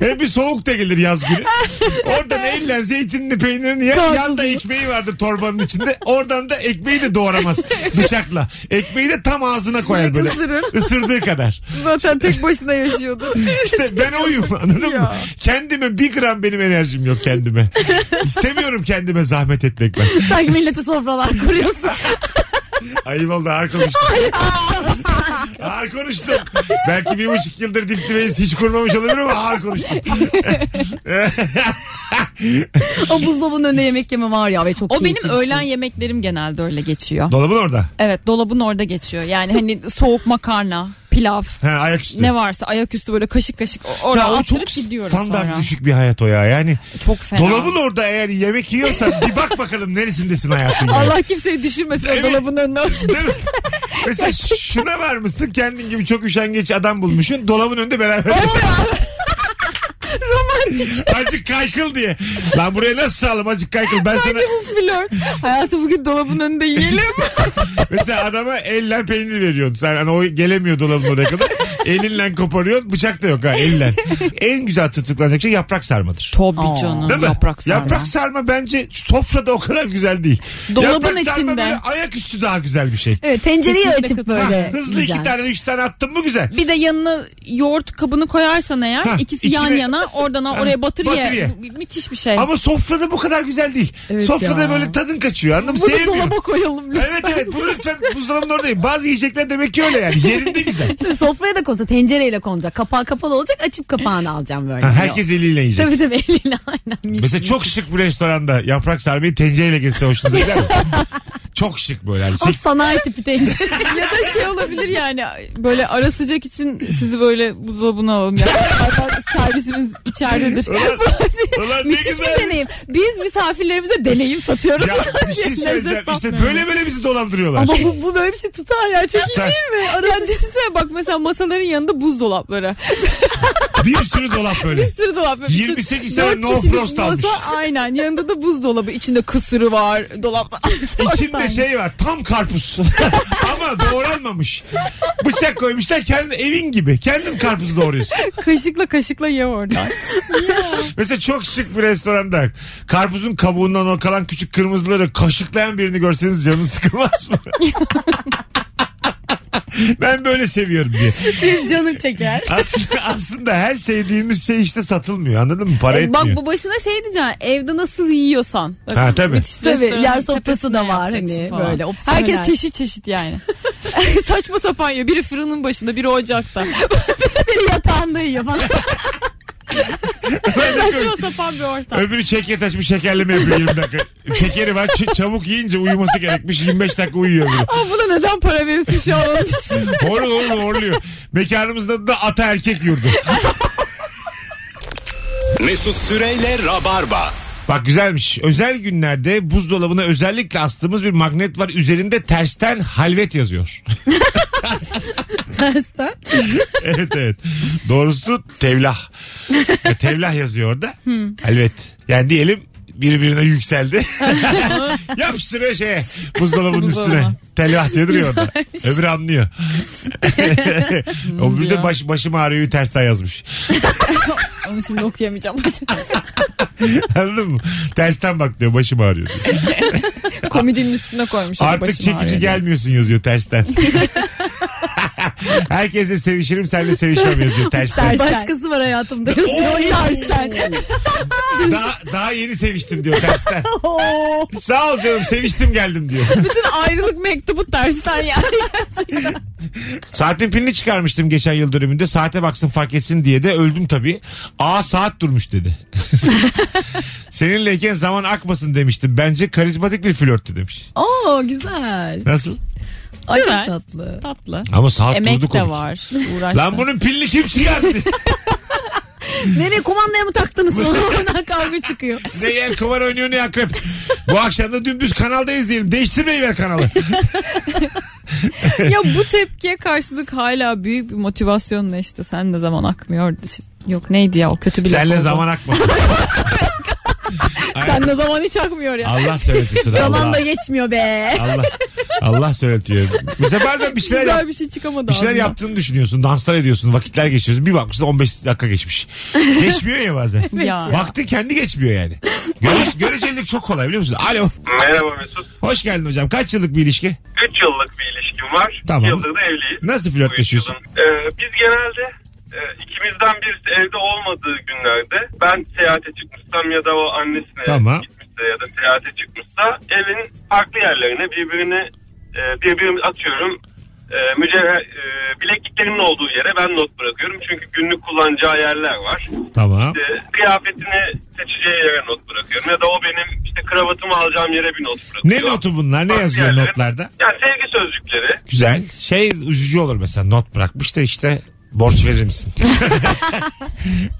Hem bir soğuk da gelir yaz günü. Oradan elle zeytinini peynirini yer. Karpuzunu. Yanda ekmeği vardır torbanın içinde. Oradan da ekmeği de doğramaz bıçakla. Ekmeği de tam ağzına koyar böyle. Isırır. Isırdığı kadar. Zaten tek başına yaşıyordu. İşte ben oyum anladın mı? Ya. Kendime bir gram benim enerjim yok kendime. İstemiyorum kendime zahmet etmek ben. Sanki millete sofralar kuruyorsun. Ayıp oldu ağır konuştum. ağır konuştum. Belki bir buçuk yıldır dip dibeyiz hiç kurmamış olabilir ama ağır konuştum. o buzdolabının önünde yemek yeme var ya ve çok O benim keyifli bir şey. öğlen yemeklerim genelde öyle geçiyor. Dolabın orada. Evet dolabın orada geçiyor. Yani hani soğuk makarna, pilav, Ha, ayaküstü. ne varsa ayaküstü böyle kaşık kaşık oraya Ya o attırıp s- gidiyorum standart sonra. düşük bir hayat o ya. Yani Çok fena. dolabın orada eğer yemek yiyorsan bir bak bakalım neresindesin hayatın. yani. Allah kimseyi düşürmesin Evet. o dolabın önüne o şey. Değil mi? Mesela şuna varmışsın kendin gibi çok üşengeç adam bulmuşsun dolabın önünde beraber. romantik. Azıcık kaykıl diye. Lan buraya nasıl sağlam azıcık kaykıl. Ben sana Bence bu flört. Hayatı bugün dolabın önünde yiyelim. mesela adama elle peynir veriyorsun. Sen hani o gelemiyor dolabın oraya kadar. Elinle koparıyorsun. Bıçak da yok ha elle. en güzel tırtıklanacak şey yaprak sarmadır. Tabii Değil canım mi? yaprak sarma. Yaprak sarma bence sofrada o kadar güzel değil. Dolabın yaprak sarma içinde. böyle ayaküstü daha güzel bir şey. Evet tencereyi Kesinlikle açıp katılıyorum. böyle. Hızlı güzel. iki tane üç tane attın mı güzel. Bir de yanına yoğurt kabını koyarsan eğer Ha, ikisi içine- yan yana oradan oraya batır, batır ye. ye. Bu- Müthiş bir şey. Ama sofrada bu kadar güzel değil. Evet sofrada ya. böyle tadın kaçıyor anladın mı? Bunu Sevmiyorum. dolaba koyalım lütfen. Evet evet bunu lütfen buzdolabının oradayım. Bazı yiyecekler demek ki öyle yani. Yerinde güzel. Sofraya da konsa tencereyle konacak. Kapağı kapalı olacak açıp kapağını alacağım böyle. Ha, herkes eliyle yiyecek. Tabii tabii eliyle aynen. Mesela çok şık bir restoranda yaprak sarmayı tencereyle geçse hoşunuza gider mi? çok şık böyle. hani. Yani. O Sek- sanayi tipi tencere. ya da şey olabilir yani böyle ara sıcak için sizi böyle buzdolabına alalım. Yani. Zaten servisimiz içeridedir. Ulan- Ulan ne Müthiş güzel. bir deneyim. Biz misafirlerimize deneyim satıyoruz. Ya bir şey söyleyeceğim. İşte böyle böyle bizi dolandırıyorlar. Ama bu, bu böyle bir şey tutar ya. Çok iyi Tutar. değil mi? Ya düşünsene bak mesela masaların yanında buzdolapları. Bir sürü dolap böyle. Bir şey- sürü dolap. böyle. 28 tane Dört no kişilik frost almış. Masa, aynen yanında da buzdolabı. İçinde kısırı var. Dolapta. Çok İçinde tane. şey var tam karpuz ama doğranmamış. Bıçak koymuşlar kendi evin gibi. Kendin karpuzu doğruyorsun. Kaşıkla kaşıkla ye orada. Mesela çok şık bir restoranda karpuzun kabuğundan o kalan küçük kırmızıları kaşıklayan birini görseniz canınız sıkılmaz mı? ben böyle seviyorum diye. Canım çeker. Aslında, aslında her sevdiğimiz şey işte satılmıyor anladın mı? Para E, bak etmiyor. bu başına şey diyeceksin. Evde nasıl yiyorsan. Bak, Ha, tabii. müthiş Tabii, restoranın yer sofrası da tepesine var yapacaksın hani, falan. böyle opsiyoneler. Herkes çeşit çeşit yani. Saçma sapan yiyor. Biri fırının başında, biri ocakta. Biri yatağında yiyor falan. Saçma sapan bir ortam. Öbürü çekyat açmış şekerleme yapıyor 20 dakika. Şekeri var ç- çabuk yiyince uyuması gerekmiş 25 dakika uyuyor. öbürü. Ama buna neden para verirsin şu an onu düşün. Horlu horlu horluyor. Mekanımızda da ata erkek yurdu. Mesut Süreyle Rabarba. Bak güzelmiş. Özel günlerde buzdolabına özellikle astığımız bir magnet var. Üzerinde tersten halvet yazıyor. Tersten. evet evet. Doğrusu tevlah. E, tevlah yazıyor orada. Halvet. Yani diyelim birbirine yükseldi. Yapıştırıyor şeye. Buzdolabının üstüne. Buzdolabına. Telvah diye duruyor orada. Öbürü anlıyor. Öbürü de diyor. baş, başım ağrıyor tersten yazmış. Onu şimdi okuyamayacağım. Anladın mı? Tersten bak diyor başım ağrıyor. diyor. Komedinin üstüne koymuş. onu Artık başıma çekici ağrıyor. gelmiyorsun yazıyor tersten. Herkesle sevişirim seninle sevişmem yazıyor tersten. Tersten. Başkası var hayatımda. Yazıyor tersten. daha, daha yeni seviştim diyor tersten. Sağ ol canım seviştim geldim diyor. Bütün ayrılık mektubu tersten yani. Saatin pilini çıkarmıştım geçen yıl dönümünde. Saate baksın fark etsin diye de öldüm tabii. Aa saat durmuş dedi. Seninleyken zaman akmasın demiştim. Bence karizmatik bir flörttü demiş. Oo güzel. Nasıl? Ay çok Güzel. tatlı. Tatlı. Ama saat durdu Emek de komik. var. Uğraştı. Lan bunun pilini kim çıkardı? Nereye kumandaya mı taktınız onu? Oradan kavga çıkıyor. Ne yer kumar oynuyor ne akrep. Bu akşam da dümdüz kanalda izleyelim. Değiştirmeyi ver kanalı. ya bu tepkiye karşılık hala büyük bir motivasyonla işte sen de zaman akmıyor. Yok neydi ya o kötü bir laf Senle oldu. zaman akma. Sen de zaman hiç akmıyor ya. Allah söyletiyorsun. Zaman Allah. da geçmiyor be. Allah. Allah söyletiyor. Mesela bazen bir şeyler yap- Güzel bir şey çıkamadı bir şeyler ağzından. yaptığını düşünüyorsun. Danslar ediyorsun. Vakitler geçiyorsun. Bir bakmışsın 15 dakika geçmiş. Geçmiyor ya bazen. ya. Vaktin kendi geçmiyor yani. Göre, görecelilik çok kolay biliyor musun? Alo. Merhaba Mesut. Hoş geldin hocam. Kaç yıllık bir ilişki? 3 yıllık bir ilişkim var. Tamam. Tamam. Yıldır da evliyiz. Nasıl flörtleşiyorsun? Bu üç yılın. Ee, biz genelde e, ikimizden birisi evde olmadığı günlerde ben seyahate çıkmışsam ya da o annesine Tamam. gitmişse ya da seyahate çıkmışsa evin farklı yerlerine birbirini e, birbirini atıyorum e, mücevher e, bilekliklerimin olduğu yere ben not bırakıyorum. Çünkü günlük kullanacağı yerler var. Tamam. İşte kıyafetini seçeceği yere not bırakıyorum ya da o benim işte kravatımı alacağım yere bir not Ne bırakıyorum. notu bunlar? Ne Farklı yazıyor yerlere. notlarda? Ya sevgi sözcükleri. Güzel. Şey üzücü olur mesela not bırakmış da işte borç verir misin?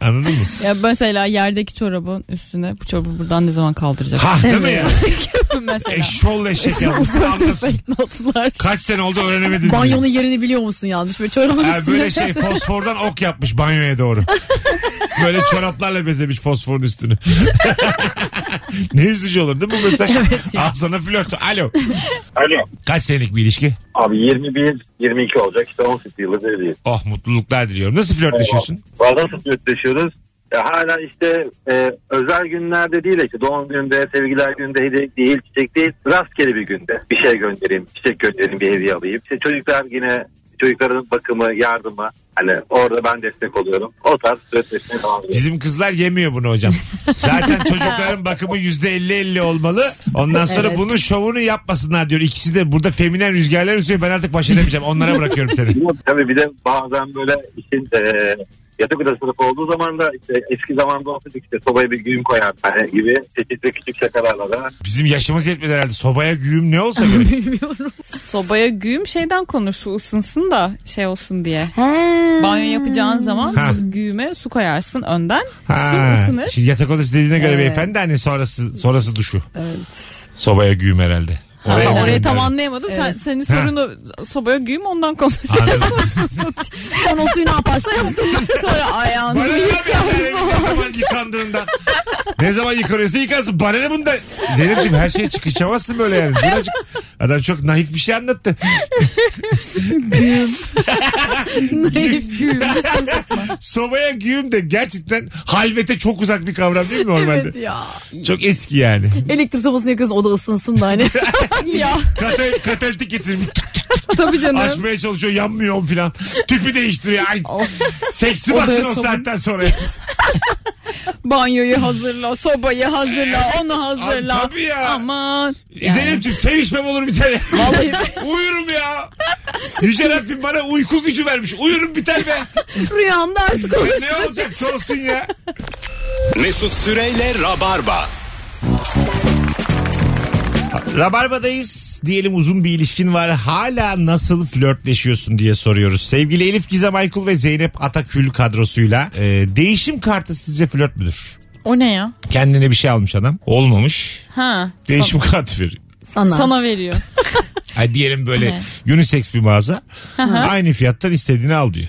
Anladın mı? Ya mesela yerdeki çorabın üstüne bu çorabı buradan ne zaman kaldıracak? Ha değil mi ya? mesela. Eşşoğlu eşek yapmış. Anlasın. notlar. Kaç sene oldu öğrenemedin. Banyonun yerini biliyor musun yanlış? Böyle çorabın Ha, şey, üstüne. böyle şey fosfordan ok yapmış banyoya doğru. Böyle çoraplarla bezemiş fosforun üstünü. ne üzücü olur değil mi bu mesaj? Evet ya. Al sana flört. Alo. Alo. Kaç senelik bir ilişki? Abi 21, 22 olacak. İşte 18 yıllık evliyiz. Oh mutluluklar diliyorum. Nasıl flörtleşiyorsun? Bazen flörtleşiyoruz. E, hala işte e, özel günlerde değil de işte doğum gününde, sevgiler gününde hediye değil, çiçek değil. Rastgele bir günde bir şey göndereyim, çiçek göndereyim, bir hediye alayım. İşte çocuklar yine çocukların bakımı, yardımı. Hani orada ben destek oluyorum. O tarz flörtleşmeye devam ediyorum. Bizim kızlar yemiyor bunu hocam. Zaten çocukların bakımı yüzde elli elli olmalı. Ondan sonra Evet. bunun şovunu yapmasınlar diyor. İkisi de burada feminen rüzgarlar üstüyor. Ben artık baş edemeyeceğim. Onlara bırakıyorum seni. Yok, Tabii bir de bazen böyle işin e, yatak odası tarafı olduğu zaman da işte eski zamanda olsaydı işte sobaya bir güğüm koyar hani gibi çeşitli küçük şakalarla da Bizim yaşımız yetmedi herhalde. Sobaya güğüm ne olsa böyle. Bilmiyorum. Sobaya güğüm şeyden konur su ısınsın da şey olsun diye. Banyo Banyo yapacağın zaman Ha. su- güğüme su koyarsın önden. Ha, Su ısınır. Şimdi yatak odası dediğine göre Evet. beyefendi hani sonrası sonrası duşu. Evet. Sobaya güğüm herhalde. Orayı, mı orayı tam gönderdim? anlayamadım. Sen, Evet. senin sorunu sobaya güğüm ondan konuş. Anladım. Sen o suyu ne yaparsa yapsın. Sonra ayağını Bana ne yapıyorsun? Ne zaman yıkandığında. Ne zaman yıkanıyorsa yıkansın. Bana ne bunda? Zeynep'ciğim her şeye çıkışamazsın böyle yani. Birazcık adam çok naif bir şey anlattı. Naif gül. Sobaya güğüm de gerçekten halvete çok uzak bir kavram değil mi normalde? evet ya. Çok eski yani. Elektrik sobasını yakıyorsun o da ısınsın da hani. ya. Katal katalitik getirmiş. Tabii canım. Açmaya çalışıyor yanmıyor filan. Tüpü değiştiriyor. Ay, seksi Odaya basın o sabun. saatten sonra. Banyoyu hazırla, sobayı hazırla, onu hazırla. Abi tabii ya. Aman. Zeynep'ciğim sevişmem olur bir tane. Vallahi Uyurum ya. Yüce Rabbim bana uyku gücü vermiş. Uyurum biter be. Rüyamda artık olursun. ne olacaksa olsun ya. Mesut Süreyle Rabarba. Rabarba'dayız. Diyelim uzun bir ilişkin var. Hala nasıl flörtleşiyorsun diye soruyoruz. Sevgili Elif Gizem Aykul ve Zeynep Atakül kadrosuyla. e, değişim kartı sizce flört müdür? o ne ya? Kendine bir şey almış adam. Olmamış. Ha. Değişim kartı veriyor. Sana. Sana veriyor. Ay diyelim böyle Evet. unisex bir mağaza. Aynı fiyattan istediğini al diyor.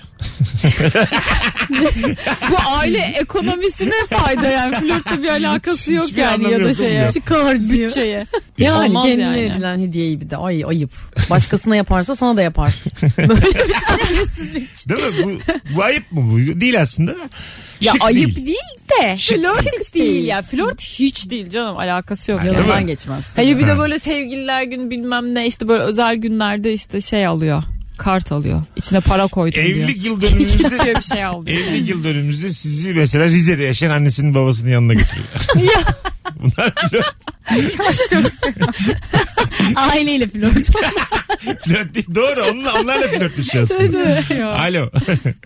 Bu aile ekonomisine fayda yani. Flörtle bir alakası Hiç- yok hiçbir yani ya anlamı da yok, şeye. bilmiyorum. Çıkar diyor. Bütçeye. Yani Olmaz kendine yani. edilen hediyeyi bir de ay ayıp. Başkasına yaparsa sana da yapar. Böyle bir terbiyesizlik. Değil mi? Bu, bu ayıp mı bu? Değil aslında da. Ya Şık ayıp değil. değil, de. Şık flört değil. hiç değil ya. Flört hiç değil canım alakası yok. yani. Yanından geçmez. Hayır bir de böyle sevgililer günü bilmem ne işte böyle özel günlerde işte şey alıyor. Kart alıyor. İçine para koydum diyor. Evlilik yıl dönümümüzde diyor bir şey alıyor. Evlilik yıl dönümümüzde sizi mesela Rize'de yaşayan annesinin babasının yanına götürüyor. Bunlar flört, Aileyle flört. flört değil. Doğru. Onunla, onlarla flörtleşiyor aslında. Alo.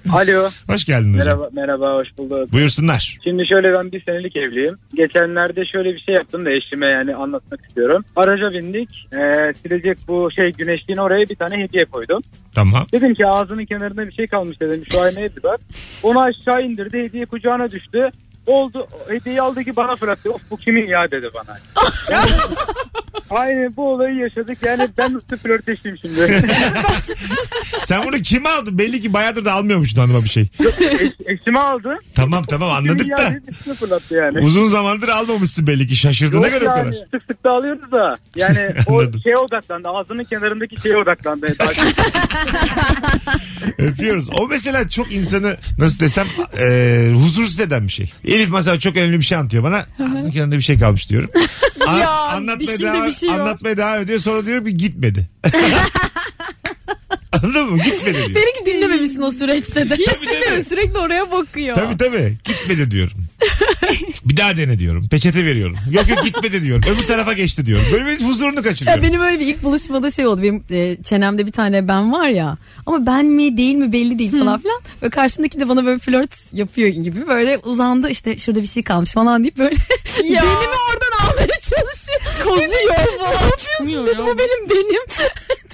Alo. Hoş geldin hocam. Merhaba, merhaba hoş bulduk. Buyursunlar. Şimdi şöyle ben bir senelik evliyim. Geçenlerde şöyle bir şey yaptım da eşime yani anlatmak istiyorum. Araca bindik. Ee, silecek bu şey güneşliğin oraya bir tane hediye koydum. Tamam. Dedim ki ağzının kenarında bir şey kalmış dedim. Şu aynaya bir bak. Onu aşağı indirdi. Hediye kucağına düştü. Oldu. Hediyeyi aldı ki bana fırlattı. Of bu kimin ya dedi bana. Yani, aynen bu olayı yaşadık. Yani ben nasıl flörtleştim şimdi. Sen bunu kime aldın? Belli ki bayağıdır da almıyormuşsun hanıma bir şey. Eşime aldı. Tamam tamam anladık kimin ya da. dedi. Üstüne fırlattı yani. Uzun zamandır almamışsın belli ki. Şaşırdığına Yok göre o kadar. yani sık sık da alıyoruz da. Yani o Anladım. şeye odaklandı. Ağzının kenarındaki şeye odaklandı. Öpüyoruz. O mesela çok insanı nasıl desem e, huzursuz eden bir şey. Elif mesela çok önemli bir şey anlatıyor bana. Ağzının kenarında bir şey kalmış diyorum. An- Ya, anlatmaya, dişinde devam, bir şey yok. anlatmaya devam ediyor. Sonra diyorum ki gitmedi. Anladın mı? Gitmedi diyor. Beni dinlememişsin o süreçte de. Tabii, tabii. Sürekli oraya bakıyor. Tabii tabii. Gitmedi diyorum. Bir daha dene diyorum. Peçete veriyorum. Yok yok gitmedi diyorum. Öbür tarafa geçti diyorum. Böyle bir huzurunu kaçırıyorum. Ya benim öyle bir ilk buluşmada şey oldu. Benim e, çenemde bir tane ben var ya. Ama ben mi değil mi belli değil falan filan. Ve karşımdaki de bana böyle flört yapıyor gibi. Böyle uzandı işte şurada bir şey kalmış falan deyip böyle. Ya. Denimi oradan almaya çalışıyor. Kozuyor falan. Ne yapıyorsun Bilmiyorum dedim. ya. Bu benim denim.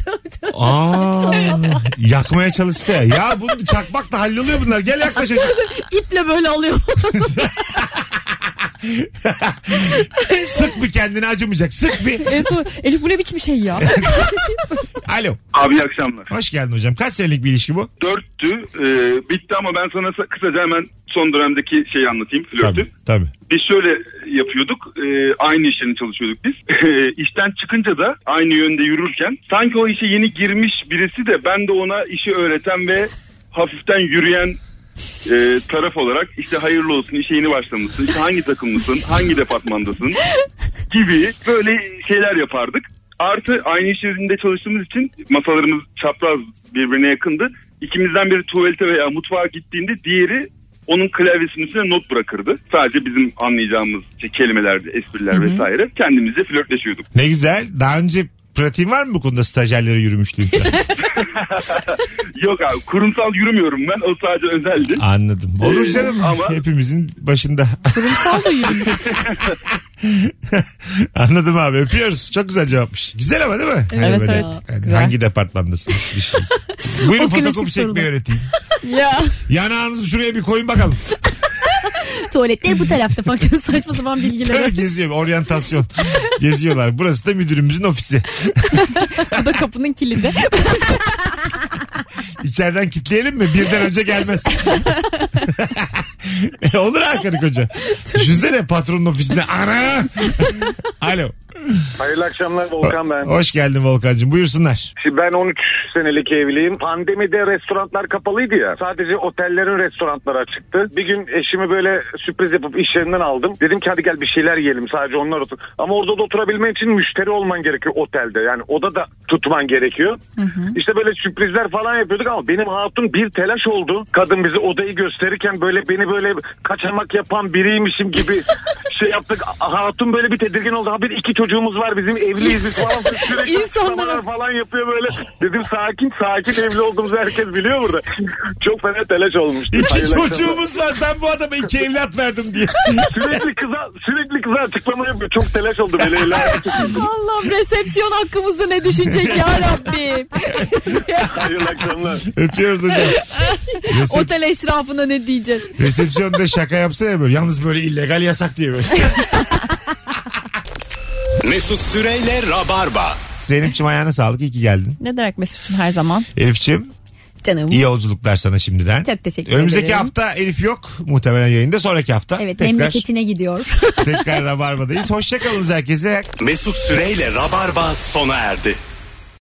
Tabii, tabii. Aa, yakmaya çalışsa. Ya bunu çakmakla halloluyor bunlar. Gel yaklaş. İple böyle alıyor. Sık bir kendini acımayacak. Sık bir. En son Elif bu ne biçim şey ya? Alo. Abi iyi akşamlar. Hoş geldin hocam. Kaç senelik bir ilişki bu? Dörttü. e, bitti ama ben sana sa- kısaca hemen son dönemdeki şeyi anlatayım. Flörtü. Tabii. Tabii. Biz şöyle yapıyorduk. e, aynı iş yerinde çalışıyorduk biz. işten çıkınca da aynı yönde yürürken sanki o işe yeni girmiş birisi de ben de ona işi öğreten ve hafiften yürüyen e, taraf olarak işte hayırlı olsun işe yeni başlamışsın işte hangi takımlısın hangi departmandasın gibi böyle şeyler yapardık. Artı aynı iş yerinde çalıştığımız için masalarımız çapraz birbirine yakındı. İkimizden biri tuvalete veya mutfağa gittiğinde diğeri onun klavyesinin üstüne not bırakırdı. Sadece bizim anlayacağımız şey, kelimelerdi, espriler vesaire. Kendimizle flörtleşiyorduk. Ne güzel. Daha önce pratiğin var mı bu konuda stajyerlere yürümüşlüğün? Yok abi kurumsal yürümüyorum ben. O sadece özeldi. Anladım. Olur canım. Ama- Hepimizin başında. Kurumsal da yürümüş. Anladım abi. Öpüyoruz. Çok güzel cevapmış. Güzel ama değil mi? Evet, böyle, evet. hani Güzel. hangi departmandasın? Bir şey. Buyurun O klasik fotokopi çekmeyi sorular. öğreteyim. ya. Yanağınızı şuraya bir koyun bakalım. Tuvaletler bu tarafta falan saçma sapan bilgiler. Tabii geziyor. Oryantasyon. Geziyorlar. Burası da müdürümüzün ofisi. Bu da kapının kilidi. İçeriden kitleyelim mi? Birden önce gelmez. Olur ha karı koca. Düşünsene patronun ofisinde. Ana! Alo. Hayırlı akşamlar Volkan ben. Hoş geldin Volkan'cığım. Buyursunlar. Şimdi ben 13 senelik evliyim. Pandemide restoranlar kapalıydı ya. Sadece otellerin restoranları açıktı. Bir gün eşimi böyle sürpriz yapıp iş yerinden aldım. Dedim ki hadi gel bir şeyler yiyelim sadece onlar otur. Ama orada da oturabilmen için müşteri olman gerekiyor otelde. Yani oda da tutman gerekiyor. İşte böyle sürprizler falan yapıyorduk ama benim hatun bir telaş oldu. Kadın bize odayı gösterirken böyle beni böyle kaçamak yapan biriymişim gibi şey yaptık. Hatun böyle bir tedirgin oldu. Ha bir iki çocuğumuz var bizim evliyiz biz falan. Sürekli İnsanlara- açıklamalar falan yapıyor böyle. Dedim sakin sakin evli olduğumuzu herkes biliyor burada. Çok fena telaş olmuştu. İki Hayırlı akşamlar. çocuğumuz var. Ben bu adama iki evlat verdim diye. Sürekli kıza, sürekli kıza açıklama yapıyor. Çok telaş oldu böyle. evli hayatı. Allah'ım resepsiyon hakkımızda ne düşünecek ya Rabbim. Hayırlı akşamlar. Öpüyoruz hocam. Şey- Resep, Otel eşrafına ne diyeceğiz? resepsiyonda şaka yapsa ya böyle. Yalnız böyle illegal yasak diye böyle. Mesut Süreyle Rabarba. Zeynep'ciğim ayağına sağlık. İyi ki geldin. Ne demek Mesut'um her zaman? Elif'ciğim Canım. iyi yolculuklar sana şimdiden. Çok teşekkür Önümüzdeki ederim. hafta Elif yok. Muhtemelen yayında. Sonraki hafta Evet tekrar, memleketine gidiyor. tekrar Rabarba'dayız. Hoşçakalınız herkese. Mesut Süreyle Rabarba sona erdi.